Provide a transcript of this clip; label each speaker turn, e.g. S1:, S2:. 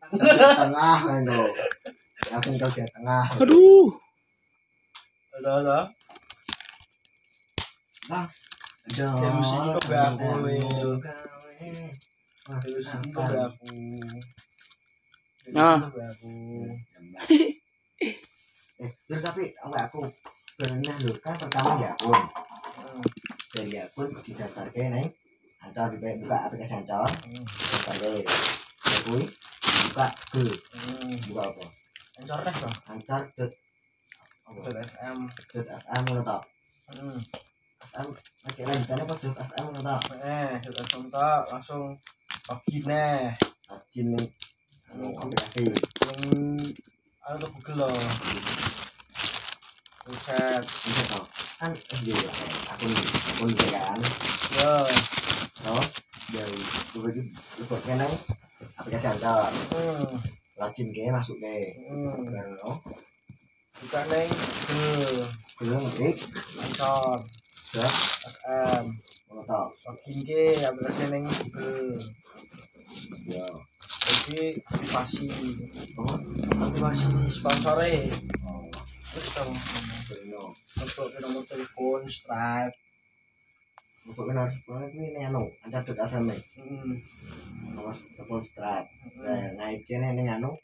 S1: Kalsia tengah kan lo. Langsung kalsia tengah.
S2: Aduh.
S3: Ada ada. Ya, mesti kau be aku, Wil. Terus ini kau be aku. Terus
S2: Ah.
S3: ini kau be aku.
S1: Eh, Wil, tapi awak aku pernah lo kan pertama ya pun. Dari ya pun didaftarkan neng. Antar di buka aplikasi antar.
S3: Hmm.
S1: Daftarkan. Ya kui buka ke
S3: Hmm.
S1: buka apa?
S3: Encor deh bang.
S1: Antar dot apa?
S3: Udah FM.
S1: Dot FM lo tau.
S3: Hmm.
S1: FM pakai lanjutannya apa dot FM lo tau.
S3: Eh, kita contoh langsung pagi nih.
S1: Ajin neng neng aplikasi.
S3: Yang ada tuh Google loh. Buset.
S1: Bisa tau. Kan eh, iya iya. Akun akun dia kan.
S3: Yo.
S1: terus dari gue lagi gue nang aplikasi antar
S3: Hmm.
S1: login ke masuk oh, ke
S3: Hmm.
S1: baru
S3: Buka neng Google.
S1: belum klik
S3: Encor.
S1: Ya.
S3: FM.
S1: motor
S3: Login ke aplikasi neng Google.
S1: ya
S3: Jadi pasti
S1: oh
S3: motivasi sponsornya
S1: oh
S3: terus dong
S1: belum
S3: untuk ke nomor telepon Stripe
S1: untuk kenal kalau ini nih anu antar dot fm
S3: hmm.
S1: nomor telepon strap
S3: hmm.
S1: nah naik ini nih anu